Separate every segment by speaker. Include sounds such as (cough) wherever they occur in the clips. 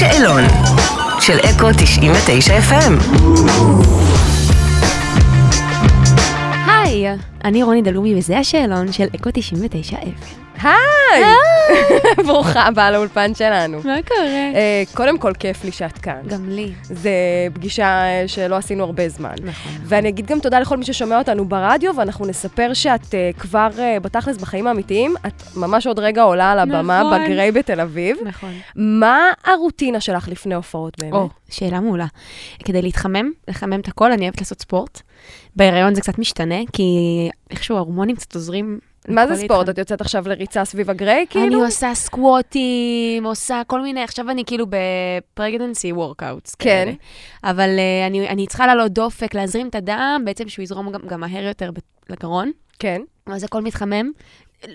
Speaker 1: שאלון של אקו 99 FM.
Speaker 2: היי, אני רוני דלומי וזה השאלון של אקו 99 אפל.
Speaker 3: היי! (laughs) ברוכה הבאה לאולפן שלנו.
Speaker 2: מה קורה?
Speaker 3: אה, קודם כל, כיף לי שאת כאן.
Speaker 2: גם לי.
Speaker 3: זה פגישה אה, שלא עשינו הרבה זמן.
Speaker 2: נכון.
Speaker 3: ואני אגיד גם תודה לכל מי ששומע אותנו ברדיו, ואנחנו נספר שאת אה, כבר אה, בתכלס בחיים האמיתיים, את ממש עוד רגע עולה על הבמה
Speaker 2: נכון.
Speaker 3: בגריי בתל אביב.
Speaker 2: נכון.
Speaker 3: מה הרוטינה שלך לפני הופעות
Speaker 2: או,
Speaker 3: באמת?
Speaker 2: שאלה מעולה. כדי להתחמם, לחמם את הכל, אני אוהבת לעשות ספורט. בהיריון זה קצת משתנה, כי איכשהו ההורמונים קצת עוזרים.
Speaker 3: מה
Speaker 2: לכל
Speaker 3: זה ספורט?
Speaker 2: להתחמם.
Speaker 3: את יוצאת עכשיו לריצה סביב הגריי,
Speaker 2: אני
Speaker 3: כאילו?
Speaker 2: עושה סקווטים, עושה כל מיני, עכשיו אני כאילו בפרגננסי וורקאוטס.
Speaker 3: כן.
Speaker 2: אבל אה, אני, אני צריכה לעלות דופק, להזרים את הדם, בעצם שהוא יזרום גם, גם מהר יותר ב- לגרון.
Speaker 3: כן,
Speaker 2: אז הכל מתחמם,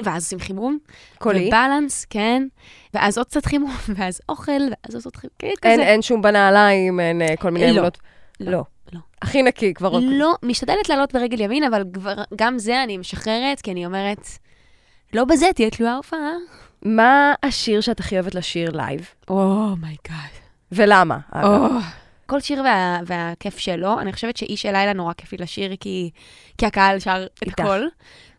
Speaker 2: ואז עושים חימום.
Speaker 3: קולי.
Speaker 2: ובלנס, כן. ואז עוד קצת חימום, (laughs) ואז אוכל, ואז עוד קצת חימום. כן,
Speaker 3: אין-
Speaker 2: כזה.
Speaker 3: אין שום בנעליים, אין אה, כל מיני
Speaker 2: לא.
Speaker 3: עמלות. לא.
Speaker 2: לא.
Speaker 3: הכי נקי כבר.
Speaker 2: לא, משתדלת לעלות ברגל ימין, אבל כבר, גם זה אני משחררת, כי אני אומרת, לא בזה תהיה תלויה ההופעה.
Speaker 3: מה השיר שאת הכי אוהבת לשיר לייב? Oh
Speaker 2: אומייגאד.
Speaker 3: ולמה? אגב?
Speaker 2: כל שיר וה, והכיף שלו, אני חושבת שאיש אלילה נורא כיף לי לשיר, כי, כי הקהל שר את
Speaker 3: איתך.
Speaker 2: הכל.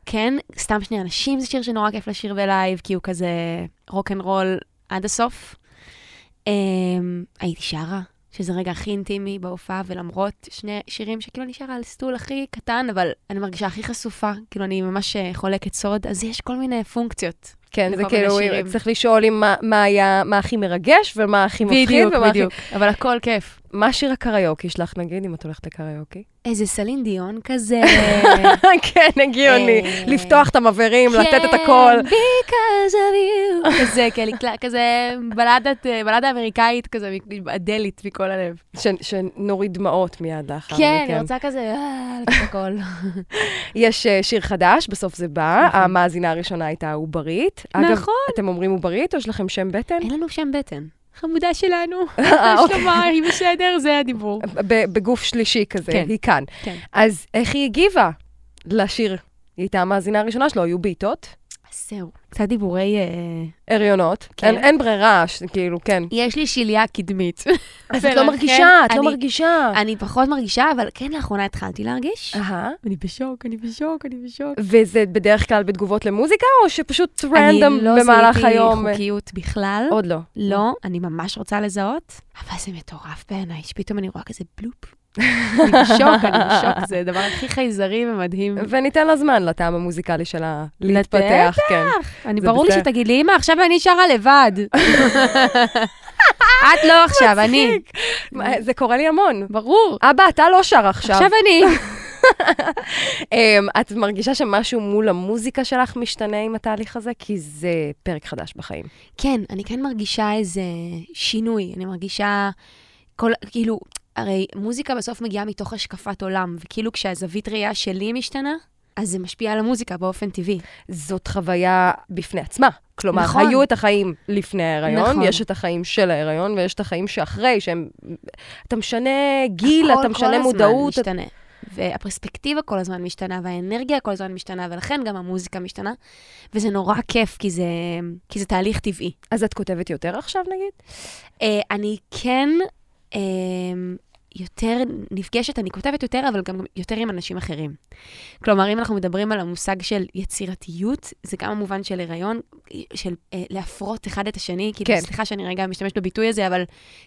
Speaker 2: כן, סתם שני אנשים זה שיר שנורא כיף לשיר בלייב, כי הוא כזה רוק אנד רול עד הסוף. Um, הייתי שרה, שזה רגע הכי אינטימי בהופעה, ולמרות שני שירים שכאילו אני שרה על סטול הכי קטן, אבל אני מרגישה הכי חשופה, כאילו אני ממש אה, חולקת סוד, אז יש כל מיני פונקציות.
Speaker 3: כן,
Speaker 2: לכל
Speaker 3: זה
Speaker 2: מיני
Speaker 3: כאילו,
Speaker 2: שירים.
Speaker 3: צריך לשאול אם מה- מה היה, מה הכי מרגש ומה הכי מפחיד. ומה הכי-
Speaker 2: אבל הכל כיף.
Speaker 3: מה שיר הקריוקי שלך, נגיד, אם את הולכת לקריוקי?
Speaker 2: איזה סלין דיון
Speaker 3: (laughs)
Speaker 2: כזה.
Speaker 3: כן, הגיוני.
Speaker 2: אה.
Speaker 3: לפתוח את המבערים, לתת את הכל.
Speaker 2: כן, because of (laughs) you. כזה, קלי קלק, כזה בלדת, אה, בלדה אמריקאית כזה, מ- אדלית מכל הלב.
Speaker 3: ש- שנוריד דמעות מיד לאחר
Speaker 2: כן, אני
Speaker 3: מכן.
Speaker 2: רוצה כזה, אה, לתת (laughs) הכל.
Speaker 3: יש אה, שיר חדש, בסוף זה בא.
Speaker 2: נכון.
Speaker 3: המאזינה הראשונה הייתה עוברית. אגב,
Speaker 2: נכון.
Speaker 3: אתם אומרים עוברית או יש לכם שם בטן?
Speaker 2: אין לנו שם בטן. חמודה (laughs) שלנו,
Speaker 3: אה,
Speaker 2: מה
Speaker 3: (laughs) אוקיי.
Speaker 2: שלומה, היא בסדר, זה הדיבור.
Speaker 3: ב- בגוף שלישי כזה,
Speaker 2: כן.
Speaker 3: היא כאן.
Speaker 2: כן.
Speaker 3: אז איך היא הגיבה לשיר? היא הייתה המאזינה הראשונה שלו, היו בעיטות,
Speaker 2: אז זהו, קצת דיבורי... אה,
Speaker 3: הריונות.
Speaker 2: כן.
Speaker 3: אין- אין ברירה, ש- כאילו, כן.
Speaker 2: יש לי שליה קדמית.
Speaker 3: אז את לא
Speaker 2: ולכן
Speaker 3: מרגישה, את
Speaker 2: כן,
Speaker 3: לא
Speaker 2: אני-
Speaker 3: מרגישה.
Speaker 2: אני פחות מרגישה, אבל כן, לאחרונה התחלתי להרגיש.
Speaker 3: אהה.
Speaker 2: אה, אני בשוק, אני בשוק, אני בשוק.
Speaker 3: וזה בדרך כלל בתגובות למוזיקה, או שפשוט רנדום במהלך
Speaker 2: אני לא
Speaker 3: היום?
Speaker 2: זיהיתי חוקיות בכלל.
Speaker 3: עוד לא.
Speaker 2: לא, אני ממש רוצה לזהות, אבל זה מטורף בעיניי, שפתאום אני רואה כזה בלופ. אני בשוק, אני בשוק, זה הדבר הכי חייזרי ומדהים.
Speaker 3: וניתן לה זמן לטעם המוזיקלי שלה להתפתח, כן.
Speaker 2: אני,
Speaker 3: זה
Speaker 2: ברור לי
Speaker 3: בסדר.
Speaker 2: שתגיד לי, אמא, עכשיו אני שרה (laughs) לבד. את לא עכשיו, אני.
Speaker 3: מצחיק. מה, זה קורה לי המון.
Speaker 2: ברור.
Speaker 3: אבא, אתה לא שר עכשיו.
Speaker 2: עכשיו אני.
Speaker 3: אמ, את מרגישה שמשהו מול המוזיקה שלך משתנה עם התהליך הזה? כי זה פרק חדש בחיים.
Speaker 2: כן, אני כן מרגישה איזה שינוי. אני מרגישה כל, כאילו, הרי מוזיקה בסוף מגיעה מתוך השקפת עולם, וכאילו כשהזווית ראייה שלי משתנה, אז זה משפיע על המוזיקה באופן טבעי.
Speaker 3: זאת חוויה בפני עצמה. כלומר,
Speaker 2: נכון.
Speaker 3: היו את החיים לפני ההיריון,
Speaker 2: נכון.
Speaker 3: יש את החיים של ההיריון ויש את החיים שאחרי, שהם... אתה משנה גיל, אתה משנה מודעות.
Speaker 2: כל הזמן משתנה. והפרספקטיבה כל הזמן משתנה, והאנרגיה כל הזמן משתנה, ולכן גם המוזיקה משתנה. וזה נורא כיף, כי זה, כי זה תהליך טבעי.
Speaker 3: אז את כותבת יותר עכשיו, נגיד?
Speaker 2: אה, אני כן אה, יותר נפגשת, אני כותבת יותר, אבל גם יותר עם אנשים אחרים. כלומר, אם אנחנו מדברים על המושג של יצירתיות, זה גם המובן של הריון, של אה, להפרות אחד את השני. כאילו,
Speaker 3: כן.
Speaker 2: סליחה שאני רגע משתמשת בביטוי הזה, אבל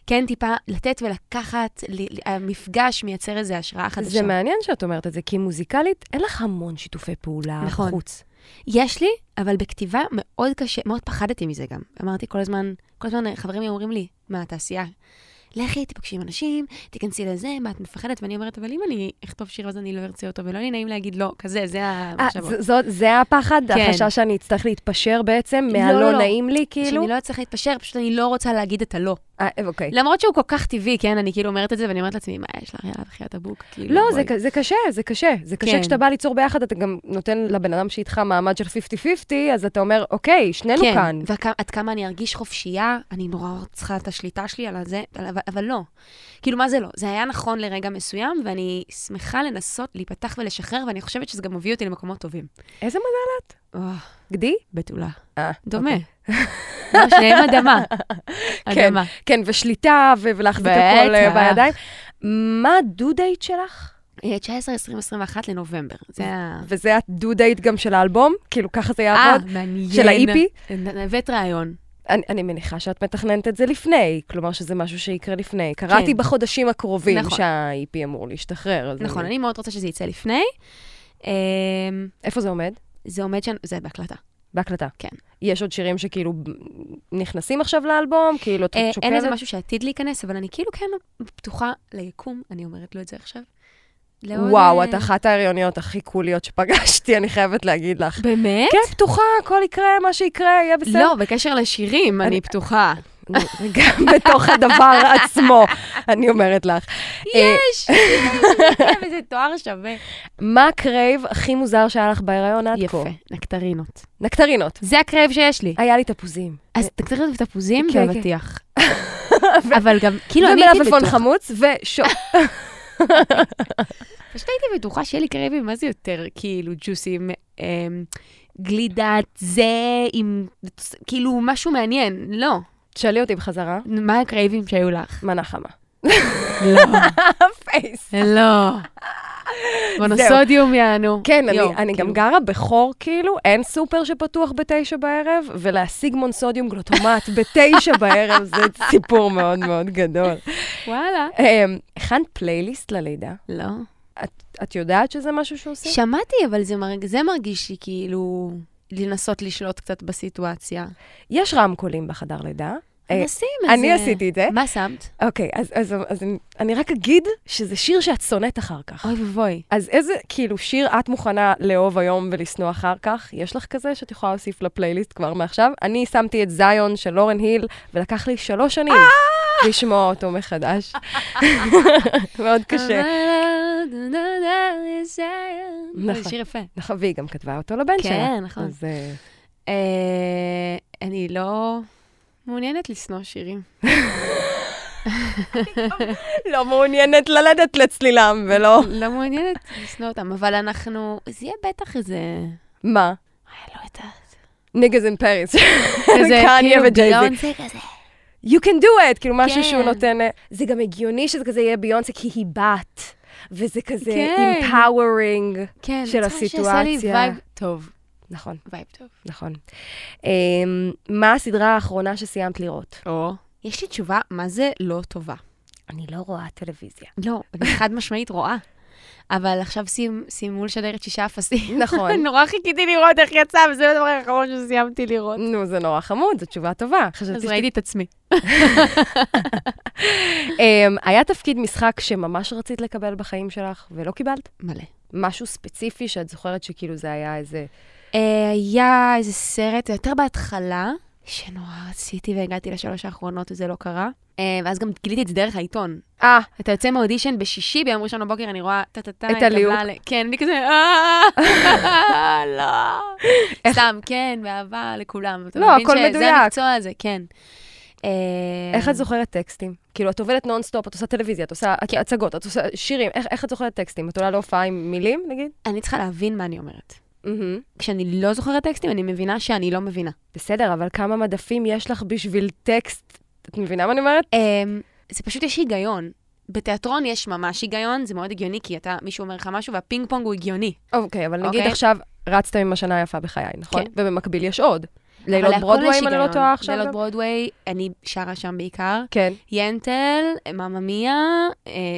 Speaker 2: כן טיפה לתת ולקחת, ל- ל- המפגש מייצר איזו השראה חדשה.
Speaker 3: זה מעניין שאת אומרת את זה, כי מוזיקלית אין לך המון שיתופי פעולה
Speaker 2: נכון.
Speaker 3: חוץ.
Speaker 2: יש לי, אבל בכתיבה מאוד קשה, מאוד פחדתי מזה גם. אמרתי כל הזמן, כל הזמן חברים היו אומרים לי מהתעשייה, לכי, תפגשי עם אנשים, תיכנסי לזה, מה את מפחדת? ואני אומרת, אבל אם אני אכתוב שיר אז אני לא ארצה אותו, ולא יהיה נעים להגיד לא, כזה, זה
Speaker 3: אה,
Speaker 2: המחשבות.
Speaker 3: ז- זאת- זה הפחד?
Speaker 2: כן.
Speaker 3: החשש שאני אצטרך להתפשר בעצם
Speaker 2: לא,
Speaker 3: מהלא
Speaker 2: לא.
Speaker 3: נעים לי, כאילו?
Speaker 2: שאני לא אצליח להתפשר, פשוט אני לא רוצה להגיד את הלא.
Speaker 3: אה, אוקיי.
Speaker 2: למרות שהוא כל כך טבעי, כן? אני כאילו אומרת את זה, ואני אומרת לעצמי, מה יש לך, יאללה, בחייאת הבוק, כאילו.
Speaker 3: לא,
Speaker 2: בואי."
Speaker 3: זה, ק- זה קשה, זה קשה. זה קשה
Speaker 2: כן.
Speaker 3: כשאתה בא ליצור ביחד, אתה גם נותן לבן אדם שאיתך מעמד של 50-50, אז אתה אומר, אוקיי, שנינו
Speaker 2: כן,
Speaker 3: כאן.
Speaker 2: ועד כמה אני ארגיש חופשייה, אני נורא צריכה את השליטה שלי על זה, אבל, אבל לא. כאילו, מה זה לא? זה היה נכון לרגע מסוים, ואני שמחה לנסות להיפתח ולשחרר, ואני חושבת שזה גם מביא אותי למקומות טובים.
Speaker 3: איזה מזל,
Speaker 2: וואו,
Speaker 3: גדי?
Speaker 2: בתולה.
Speaker 3: אה,
Speaker 2: דומה. (laughs)
Speaker 3: אוקיי.
Speaker 2: לא, שניהם אדמה.
Speaker 3: כן.
Speaker 2: אדמה.
Speaker 3: כן, ושליטה, ו- ולהחזיק הכל אה,
Speaker 2: בטח.
Speaker 3: בידיים. מה הדו דייט שלך?
Speaker 2: אה, 19, 20, 21 לנובמבר. זה ה...
Speaker 3: וזה הדו דייט גם של האלבום? כאילו, ככה זה
Speaker 2: אה,
Speaker 3: אה, יעבוד?
Speaker 2: מעניין.
Speaker 3: של ה-EP?
Speaker 2: הבאת רעיון.
Speaker 3: אני, אני מניחה שאת מתכננת את זה לפני, כלומר שזה משהו שיקרה לפני. קראתי בחודשים הקרובים
Speaker 2: כן. נכון.
Speaker 3: שה-EP אמור להשתחרר. אז
Speaker 2: נכון,
Speaker 3: אני-
Speaker 2: אני מאוד רוצה שזה יצא לפני. אה,
Speaker 3: איפה זה עומד?
Speaker 2: זה עומד שם, זה בהקלטה.
Speaker 3: בהקלטה.
Speaker 2: כן.
Speaker 3: יש עוד שירים שכאילו נכנסים עכשיו לאלבום? כאילו, את
Speaker 2: אה,
Speaker 3: שוקלת?
Speaker 2: אין איזה משהו שעתיד להיכנס, אבל אני כאילו כן פתוחה ליקום, אני אומרת לו את זה עכשיו. לעוד,
Speaker 3: וואו,
Speaker 2: אה,
Speaker 3: את אחת ההריוניות הכי קוליות שפגשתי, אני חייבת להגיד לך.
Speaker 2: באמת?
Speaker 3: כן, פתוחה, הכל יקרה, מה שיקרה, יהיה כן, בסדר.
Speaker 2: לא, בקשר לשירים,
Speaker 3: אני-
Speaker 2: אני פתוחה.
Speaker 3: גם (laughs) בתוך הדבר עצמו, אני אומרת לך. אה,
Speaker 2: יש! (laughs) כן, וזה תואר שווה.
Speaker 3: מה הקרייב הכי מוזר שהיה לך בהיריון עד כה?
Speaker 2: יפה, נקטרינות.
Speaker 3: נקטרינות.
Speaker 2: זה הקרב שיש לי.
Speaker 3: היה לי תפוזים.
Speaker 2: אז נקטרינות ותפוזים
Speaker 3: אה, כן, כן. (laughs)
Speaker 2: ואבטיח. אבל גם, כאילו, אני הייתי
Speaker 3: ומלפפון
Speaker 2: בטוחה.
Speaker 3: חמוץ ושוק.
Speaker 2: פשוט הייתי בטוחה שיהיה לי קרבים, מה זה יותר כאילו ג'וסים, אמ, גלידת זה עם, כאילו, משהו מעניין. לא.
Speaker 3: תשאלי אותי בחזרה.
Speaker 2: מה הקרייבים שהיו לך?
Speaker 3: מנה חמה.
Speaker 2: לא.
Speaker 3: פייס.
Speaker 2: לא. מונוסודיום יענו.
Speaker 3: כן, אני-
Speaker 2: יואו,
Speaker 3: אני
Speaker 2: כאילו,
Speaker 3: גם גרה בחור, כאילו, אין סופר שפתוח בתשע בערב, ולהשיג מונסודיום גלוטומט (laughs) בתשע בערב זה סיפור מאוד מאוד גדול.
Speaker 2: וואלה.
Speaker 3: אמ, הכנת פלייליסט ללידה?
Speaker 2: לא.
Speaker 3: את יודעת שזה משהו שעושים?
Speaker 2: שמעתי, אבל זה מרג- זה מרגיש לי כאילו לנסות לשלוט קצת בסיטואציה.
Speaker 3: יש רמקולים בחדר לידה. אה,
Speaker 2: נשים איזה...
Speaker 3: אני עשיתי את זה.
Speaker 2: מה שמת?
Speaker 3: אוקיי, אז- אז- אז אני- אני רק אגיד שזה שיר שאת שונאת אחר כך.
Speaker 2: אוי ואבוי.
Speaker 3: אז איזה, כאילו, שיר את מוכנה לאהוב היום ולשנוא אחר כך? יש לך כזה שאת יכולה להוסיף לפלייליסט כבר מעכשיו? אני שמתי את זיון של לורן היל, ולקח לי שלוש שנים
Speaker 2: אה!
Speaker 3: לשמוע
Speaker 2: (laughs)
Speaker 3: אותו מחדש. מאוד קשה. נכון.
Speaker 2: זה שיר יפה.
Speaker 3: נכון, והיא גם כתבה אותו לבן
Speaker 2: כן,
Speaker 3: שלה.
Speaker 2: נכון.
Speaker 3: אז אה,
Speaker 2: אה, אני לא מעוניינת לשנוא שירים.
Speaker 3: לא מעוניינת ללדת לצלילם
Speaker 2: (laughs)
Speaker 3: ולא...
Speaker 2: לא מעוניינת לשנוא אותם, אבל אנחנו... זה יהיה בטח איזה...
Speaker 3: מה?
Speaker 2: אה, לא יודעת.
Speaker 3: ניגז אין פריס. (laughs)
Speaker 2: איזה
Speaker 3: קניה
Speaker 2: כאילו
Speaker 3: וג'ייזי.
Speaker 2: ביונסה כזה.
Speaker 3: You can do it, כאילו משהו
Speaker 2: כן.
Speaker 3: שהוא נותן... אה, זה גם הגיוני שזה כזה יהיה ביונסה, כי היא בת. וזה כזה
Speaker 2: כן.
Speaker 3: empowering.
Speaker 2: כן,
Speaker 3: של
Speaker 2: צריך שיעשה לי
Speaker 3: הסיטואציה.
Speaker 2: וייב טוב.
Speaker 3: נכון,
Speaker 2: וייב טוב.
Speaker 3: נכון. אמ, מה הסדרה האחרונה שסיימת לראות?
Speaker 2: או. יש לי תשובה מה זה לא טובה.
Speaker 3: אני לא רואה טלוויזיה.
Speaker 2: לא, (laughs) אני חד משמעית רואה. אבל עכשיו סיים- סיימו לשדר את שישה (laughs) אפסים.
Speaker 3: נכון.
Speaker 2: נורא חיכיתי לראות איך יצא, וזה לא הדבר האחרון שסיימתי (laughs) לראות.
Speaker 3: נו, זה נורא חמוד, זו תשובה טובה. חשבתי
Speaker 2: אז
Speaker 3: ש-
Speaker 2: ראיתי את עצמי.
Speaker 3: אמ, היה תפקיד משחק שממש רצית לקבל בחיים שלך ולא קיבלת?
Speaker 2: מלא.
Speaker 3: משהו ספציפי שאת זוכרת שכאילו זה היה איזה...
Speaker 2: אה, היה איזה סרט, יותר בהתחלה, שנורא רציתי והגעתי לשלוש האחרונות וזה לא קרה. אה, ואז גם גיליתי את זה דרך העיתון.
Speaker 3: אה,
Speaker 2: אתה יוצא מהאודישן בשישי, ביום ראשון בבוקר אני רואה טה-טה-טה.
Speaker 3: את
Speaker 2: התקבלה
Speaker 3: הליהוק.
Speaker 2: ל- כן, אני כזה, אה, (laughs)
Speaker 3: (laughs)
Speaker 2: לא. סתם, כן, באהבה לכולם. אתה
Speaker 3: לא,
Speaker 2: מבין
Speaker 3: הכל
Speaker 2: שזה
Speaker 3: מדויק.
Speaker 2: המקצוע הזה, כן. אה,
Speaker 3: איך את זוכרת טקסטים? כאילו, את עובדת נונסטופ, את עושה טלוויזיה, את עושה
Speaker 2: כן.
Speaker 3: הצגות, את עושה שירים, איך- איך את זוכרת טקסטים? את עולה להופעה עם מילים, נגיד?
Speaker 2: אני צריכה להבין מה אני אומרת.
Speaker 3: מהמם.
Speaker 2: כשאני לא זוכרת טקסטים, אני מבינה שאני לא מבינה.
Speaker 3: בסדר, אבל כמה מדפים יש לך בשביל טקסט? את מבינה מה אני אומרת?
Speaker 2: אמ, זה פשוט יש היגיון. בתיאטרון יש ממש היגיון, זה מאוד הגיוני, כי אתה, מישהו אומר לך משהו והפינג פונג הוא הגיוני.
Speaker 3: אוקיי, אבל נגיד
Speaker 2: אוקיי.
Speaker 3: עכשיו רצת עם השנה היפה בחיי, נכון?
Speaker 2: כן.
Speaker 3: ובמקביל יש עוד. לילות
Speaker 2: אבל להכל
Speaker 3: ברודווי,
Speaker 2: יש
Speaker 3: אם אני לא
Speaker 2: היגיון.
Speaker 3: טועה עכשיו.
Speaker 2: לילות
Speaker 3: גם?
Speaker 2: ברודוויי, אני שרה שם בעיקר.
Speaker 3: כן.
Speaker 2: ינטל, מממיה,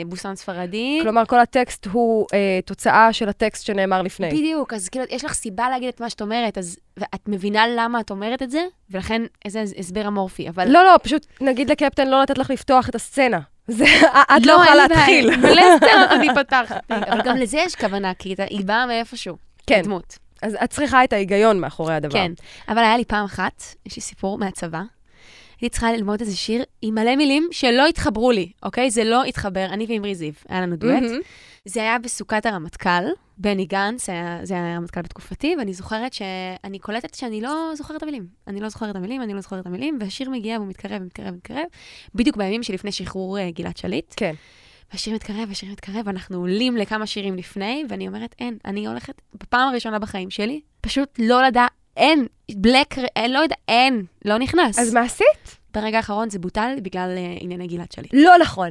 Speaker 2: בוסן ספרדי.
Speaker 3: כלומר, כל הטקסט הוא אה, תוצאה של הטקסט שנאמר לפני.
Speaker 2: בדיוק, אז כאילו, יש לך סיבה להגיד את מה שאת אומרת, אז את מבינה למה את אומרת את זה, ולכן איזה הסבר אמורפי, אבל...
Speaker 3: לא, לא, פשוט נגיד לקפטן לא לתת לך לפתוח את הסצנה. זה, (laughs) את לא יכולה
Speaker 2: אין לי
Speaker 3: להתחיל.
Speaker 2: בעיה.
Speaker 3: (laughs)
Speaker 2: בלסטר אני פתחתי, אבל גם לזה יש כוונה, כי אתה- היא באה מאיפשהו.
Speaker 3: כן,
Speaker 2: דמות.
Speaker 3: אז את צריכה את ההיגיון מאחורי הדבר.
Speaker 2: כן, אבל היה לי פעם אחת, יש לי סיפור מהצבא, הייתי צריכה ללמוד איזה שיר עם מלא מילים שלא התחברו לי, אוקיי? זה לא התחבר, אני ואמרי זיו, היה לנו דואט.
Speaker 3: מהמם.
Speaker 2: זה היה בסוכת הרמטכ"ל, בני גנץ, היה, זה היה הרמטכ"ל בתקופתי, ואני זוכרת שאני קולטת שאני לא זוכרת את המילים. אני לא זוכרת את המילים, אני לא זוכרת את המילים, והשיר מגיע והוא מתקרב, מתקרב, מתקרב, בדיוק בימים שלפני שחרור אה, גלעד שליט.
Speaker 3: כן.
Speaker 2: והשיר מתקרב, והשיר מתקרב, אנחנו עולים לכמה שירים לפני, ואני אומרת, אין, אני הולכת בפעם הראשונה בחיים שלי, פשוט לא לדעת אין, בלק, אין, לא יודע, אין, לא נכנס.
Speaker 3: אז מה עשית?
Speaker 2: ברגע האחרון זה בוטל בגלל אה, ענייני גלעד שליט.
Speaker 3: לא נכון.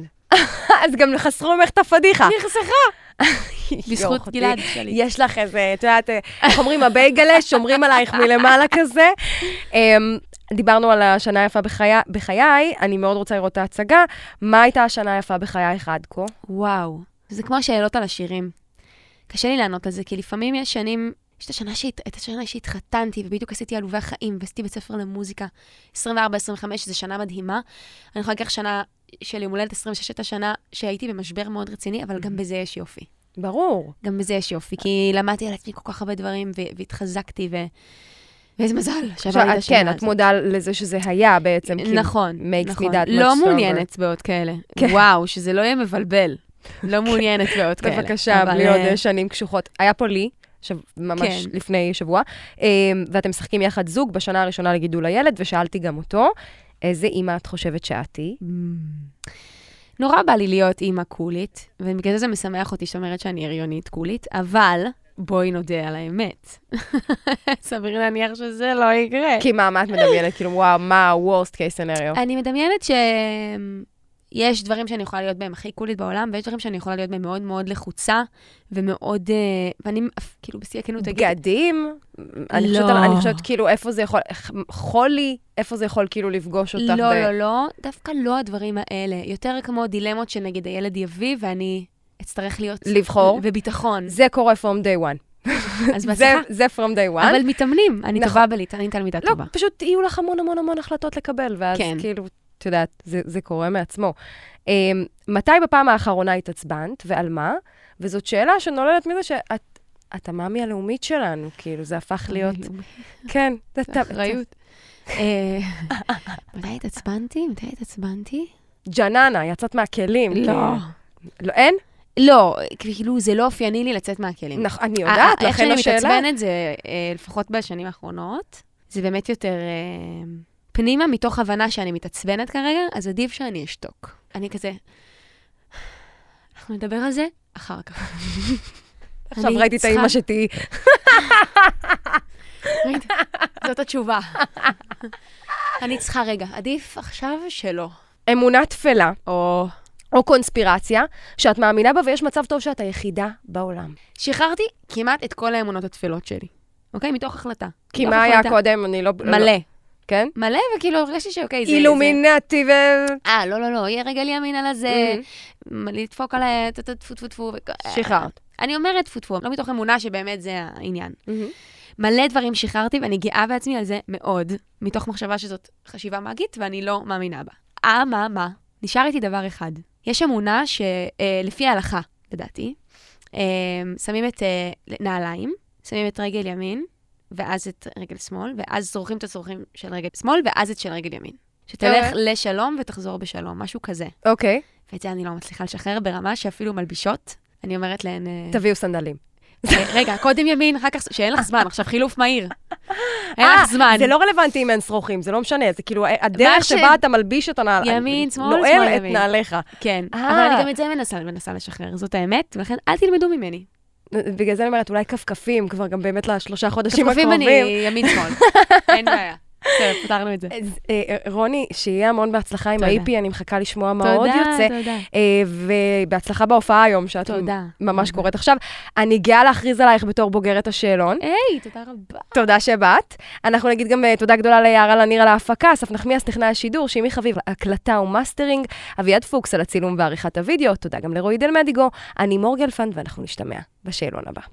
Speaker 3: (laughs) אז גם חסרו ממך את הפדיחה.
Speaker 2: נחסכה!
Speaker 3: יואו,
Speaker 2: (laughs) בזכות
Speaker 3: אחותי.
Speaker 2: גלעד שליט.
Speaker 3: יש לך איזה, את יודעת, אה, איך אומרים, הבייגלה, שומרים עלייך מלמעלה כזה. אמ, דיברנו על השנה היפה בחיי, בחיי, אני מאוד רוצה לראות את ההצגה. מה הייתה השנה היפה בחייך עד כה?
Speaker 2: וואו, זה כמו השאלות על השירים. קשה לי לענות על זה, כי לפעמים יש שנים, יש את השנה, שהת, את השנה שהתחתנתי, ובדיוק עשיתי עלובי החיים, ועשיתי בית ספר למוזיקה. 24-25, זו שנה מדהימה. אני יכולה לקחת שנה של יום הולדת 26, הייתה שנה שהייתי במשבר מאוד רציני, אבל
Speaker 3: Mm-hmm.
Speaker 2: גם בזה יש יופי.
Speaker 3: ברור.
Speaker 2: גם בזה יש יופי, כי למדתי על עצמי כל כך הרבה דברים, ו- והתחזקתי, ו... ואיזה מזל
Speaker 3: עכשיו,
Speaker 2: שעברתי את
Speaker 3: את-
Speaker 2: השנה
Speaker 3: כן, את מודה לזה שזה היה בעצם, כי
Speaker 2: נכון,
Speaker 3: כאילו makes me
Speaker 2: נכון.
Speaker 3: that much
Speaker 2: לא
Speaker 3: stronger.
Speaker 2: מעוניינת אצבעות כאלה.
Speaker 3: כן.
Speaker 2: וואו, שזה לא יהיה מבלבל.
Speaker 3: (laughs)
Speaker 2: לא מעוניינת אצבעות כאלה.
Speaker 3: בבקשה,
Speaker 2: אבל,
Speaker 3: בלי
Speaker 2: אה,
Speaker 3: עוד אה, שנים קשוחות. היה פה לי, שב- ממש
Speaker 2: כן.
Speaker 3: לפני שבוע, אמ, ואתם משחקים יחד זוג בשנה הראשונה לגידול הילד, ושאלתי גם אותו, איזה אימא את חושבת שאת היא?
Speaker 2: נורא בא לי להיות אימא קולית, ובגלל זה זה משמח אותי שאת אומרת שאני הריונית קולית, אבל בואי נודה על האמת. (laughs) סביר להניח שזה לא יקרה.
Speaker 3: כי מה, מה את מדמיינת? כאילו, וואו, מה ה-Worst case scenario?
Speaker 2: אני מדמיינת שיש דברים שאני יכולה להיות בהם הכי קולית בעולם, ויש דברים שאני יכולה להיות בהם מאוד מאוד לחוצה, ומאוד... אה, ואני, אף- כאילו, בשיא הכנות אגיד,
Speaker 3: בגדים? אני
Speaker 2: לא.
Speaker 3: חושבת, על- אני חושבת, כאילו, איפה זה יכול, איך- חולי, איפה זה יכול כאילו לפגוש אותך?
Speaker 2: לא,
Speaker 3: ב-
Speaker 2: לא, לא, דווקא לא הדברים האלה. יותר כמו דילמות שנגיד הילד יביא, ואני אצטרך להיות...
Speaker 3: לבחור.
Speaker 2: בביטחון.
Speaker 3: זה קורה from day one.
Speaker 2: אז
Speaker 3: זה-
Speaker 2: בהצלחה.
Speaker 3: זה from day one.
Speaker 2: אבל מתאמנים, אני
Speaker 3: נכון.
Speaker 2: טובה בליט, אני תלמידה
Speaker 3: לא,
Speaker 2: טובה.
Speaker 3: פשוט יהיו לך המון המון המון החלטות לקבל, ואז
Speaker 2: כן.
Speaker 3: כאילו, את יודעת, זה, זה קורה מעצמו. Um, מתי בפעם האחרונה התעצבנת, ועל מה? וזאת שאלה שנולדת מזה שאת... את המאמי הלאומית שלנו, כאילו, זה הפך להיות... כן, זה אתה-
Speaker 2: אחריות. אה, מתי התעצבנתי? מתי התעצבנתי?
Speaker 3: ג'ננה, יצאת מהכלים. כאילו. לא. אין?
Speaker 2: לא, כאילו, זה לא אופייני לי לצאת מהכלים.
Speaker 3: נכון, אני
Speaker 2: אה, אה,
Speaker 3: יודעת, לכן
Speaker 2: איך שאני
Speaker 3: השאלה...
Speaker 2: מתעצבנת זה, אה, לפחות בשנים האחרונות, זה באמת יותר אה, פנימה, מתוך הבנה שאני מתעצבנת כרגע, אז עדיף שאני אשתוק. אני כזה, אנחנו נדבר על זה אחר כך.
Speaker 3: עכשיו
Speaker 2: אני
Speaker 3: ראיתי את
Speaker 2: צריכה-
Speaker 3: האימא שתהיי.
Speaker 2: ראית? (laughs) זאת התשובה. אני צריכה רגע, עדיף עכשיו שלא.
Speaker 3: אמונה טפלה,
Speaker 2: או...
Speaker 3: או קונספירציה, שאת מאמינה בה ויש מצב טוב שאת היחידה בעולם.
Speaker 2: לא שחררתי כמעט את כל האמונות התפלות שלי, אוקיי? מתוך החלטה.
Speaker 3: כי
Speaker 2: מתוך
Speaker 3: מה היה
Speaker 2: החלטה.
Speaker 3: קודם? אני לא... לא-
Speaker 2: מלא.
Speaker 3: כן?
Speaker 2: מלא, וכאילו הרגשתי שאוקיי, זה... זה-
Speaker 3: אילומינטי ו...
Speaker 2: אה, לא, לא, לא, יהיה רגל ימין על הזה, מ- לדפוק על ה... טה, טה, טפו טפו טפו. וכ-
Speaker 3: שחררת.
Speaker 2: אני אומרת טפו טפו, לא מתוך אמונה שבאמת זה העניין. מלא דברים שחררתי, ואני גאה בעצמי על זה מאוד, מתוך מחשבה שזאת חשיבה מאגית, ואני לא מאמינה בה. אה, מה, מה? נשאר איתי דבר אחד. יש אמונה שלפי ההלכה, לדעתי, אה, שמים את אה, נעליים, שמים את רגל ימין, ואז את רגל שמאל, ואז זורקים את הצורכים של רגל שמאל, ואז את של רגל ימין. שתלך
Speaker 3: אוקיי.
Speaker 2: לשלום ותחזור בשלום, משהו כזה.
Speaker 3: אוקיי,
Speaker 2: ואת זה אני לא מצליחה לשחרר ברמה שאפילו מלבישות. אני אומרת להן, אה,
Speaker 3: תביאו סנדלים.
Speaker 2: אה, רגע, קודם ימין, אחר כך, שאין לך זמן, עכשיו חילוף
Speaker 3: (laughs)
Speaker 2: מהיר. אין לך זמן.
Speaker 3: זה לא רלוונטי אם אין שרוכים, זה לא משנה, זה כאילו
Speaker 2: מה
Speaker 3: הדרך
Speaker 2: ש-
Speaker 3: שבה אתה מלביש את הנעל...
Speaker 2: ימין, שמאל, שמאל,
Speaker 3: נועל את
Speaker 2: ימין.
Speaker 3: נעליך.
Speaker 2: כן,
Speaker 3: אה.
Speaker 2: אבל אני גם את זה מנסה, מנסה לשחרר, זאת האמת, ולכן אל תלמדו ממני.
Speaker 3: בגלל זה אני אומרת, אולי כפכפים כבר גם באמת לשלושה חודשים
Speaker 2: כפכפים
Speaker 3: הקרובים.
Speaker 2: אני ימין-שמאל,
Speaker 3: (laughs)
Speaker 2: אין בעיה. בסדר, פתרנו את זה.
Speaker 3: אז, אה, רוני, שיהיה המון בהצלחה עם
Speaker 2: תודה.
Speaker 3: ה-EP, אני מחכה לשמוע מה עוד יוצא.
Speaker 2: תודה, תודה.
Speaker 3: אה, ובהצלחה בהופעה היום, שאת
Speaker 2: תודה.
Speaker 3: ממש קוראת עכשיו. אני גאה להכריז עלייך בתור בוגרת השאלון.
Speaker 2: היי, תודה רבה.
Speaker 3: תודה שבאת. אנחנו נגיד גם אה, תודה גדולה ליערה לניר על ההפקה, אסף נחמיאס נכנע השידור, שימי חביב על הקלטה ומאסטרינג, אביעד פוקס על הצילום ועריכת הוידאו, תודה גם לרועי דל מדיגו, אני מורגלפנד ואנחנו נשתמע בשאלון הבא.